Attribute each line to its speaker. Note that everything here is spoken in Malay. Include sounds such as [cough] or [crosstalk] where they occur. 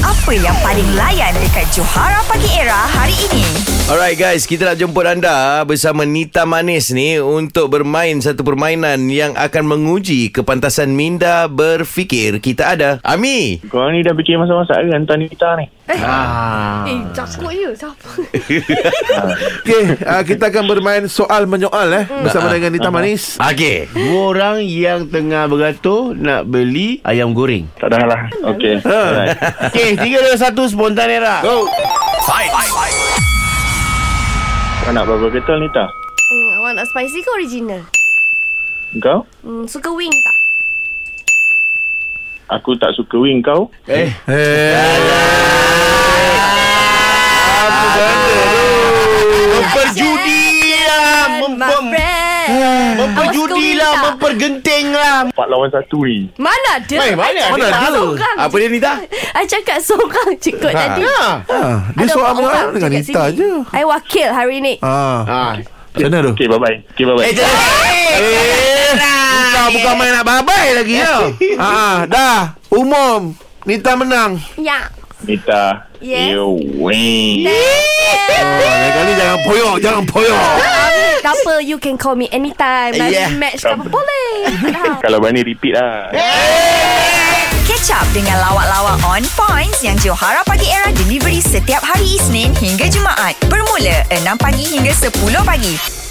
Speaker 1: Apa yang paling layan dekat Johara Pagi Era hari ini?
Speaker 2: Alright guys, kita nak jemput anda bersama Nita Manis ni untuk bermain satu permainan yang akan menguji kepantasan minda berfikir. Kita ada Ami.
Speaker 3: Korang ni dah fikir masa-masa hari hantar ni kita ni.
Speaker 4: Eh, cakut je. Siapa?
Speaker 5: Okey, uh, kita akan bermain soal menyoal eh bersama dengan Nita Manis.
Speaker 2: Okey.
Speaker 6: Dua orang yang tengah beratur nak beli ayam goreng.
Speaker 3: Tak dah lah. Okey. Alright.
Speaker 6: Okey,
Speaker 2: [laughs]
Speaker 6: tiga dua satu spontan era.
Speaker 5: Go.
Speaker 3: Kau nak berapa kettle ni tak?
Speaker 4: Hmm, awak nak spicy ke original?
Speaker 3: Kau?
Speaker 4: Hmm, suka wing tak?
Speaker 3: Aku tak suka wing kau.
Speaker 6: Eh, lah. memperjudi lah,
Speaker 4: My
Speaker 6: mempem,
Speaker 4: friend.
Speaker 6: memperjudi
Speaker 4: Awas
Speaker 6: lah,
Speaker 4: kau minta.
Speaker 6: mempergenting lah.
Speaker 3: Empat lawan satu ni.
Speaker 4: Mana ada?
Speaker 6: Eh, mana
Speaker 4: I
Speaker 6: ada?
Speaker 4: cakap
Speaker 6: Mana ada?
Speaker 4: Seorang.
Speaker 2: Apa dia Nita?
Speaker 4: I cakap seorang cikgu ha. tadi.
Speaker 6: Ha.
Speaker 5: Ha, dia
Speaker 4: Ada
Speaker 5: soal
Speaker 4: empat
Speaker 5: menyoal
Speaker 4: orang
Speaker 5: dengan
Speaker 4: dekat
Speaker 5: Nita
Speaker 4: sini.
Speaker 5: je.
Speaker 4: I wakil hari ni.
Speaker 5: Ha.
Speaker 6: Ha.
Speaker 5: Macam mana tu?
Speaker 3: Okey, bye-bye. Okey,
Speaker 6: Eh,
Speaker 3: bye-bye.
Speaker 6: jangan. Eh,
Speaker 5: Kau bukan main nak babai lagi ya. Ha, dah. Umum. Nita menang.
Speaker 4: Ya.
Speaker 3: Nita.
Speaker 4: Yes.
Speaker 3: You wing.
Speaker 6: [laughs]
Speaker 5: Oh, lain kali jangan poyok, jangan poyok.
Speaker 4: Tak apa, you can call me anytime. Nanti
Speaker 6: Yeah.
Speaker 4: match ke apa boleh. Tak
Speaker 3: Kalau berani repeat lah.
Speaker 1: Catch up dengan lawak-lawak on points yang Johara Pagi Era delivery setiap hari Isnin hingga Jumaat. Bermula 6 pagi hingga 10 pagi.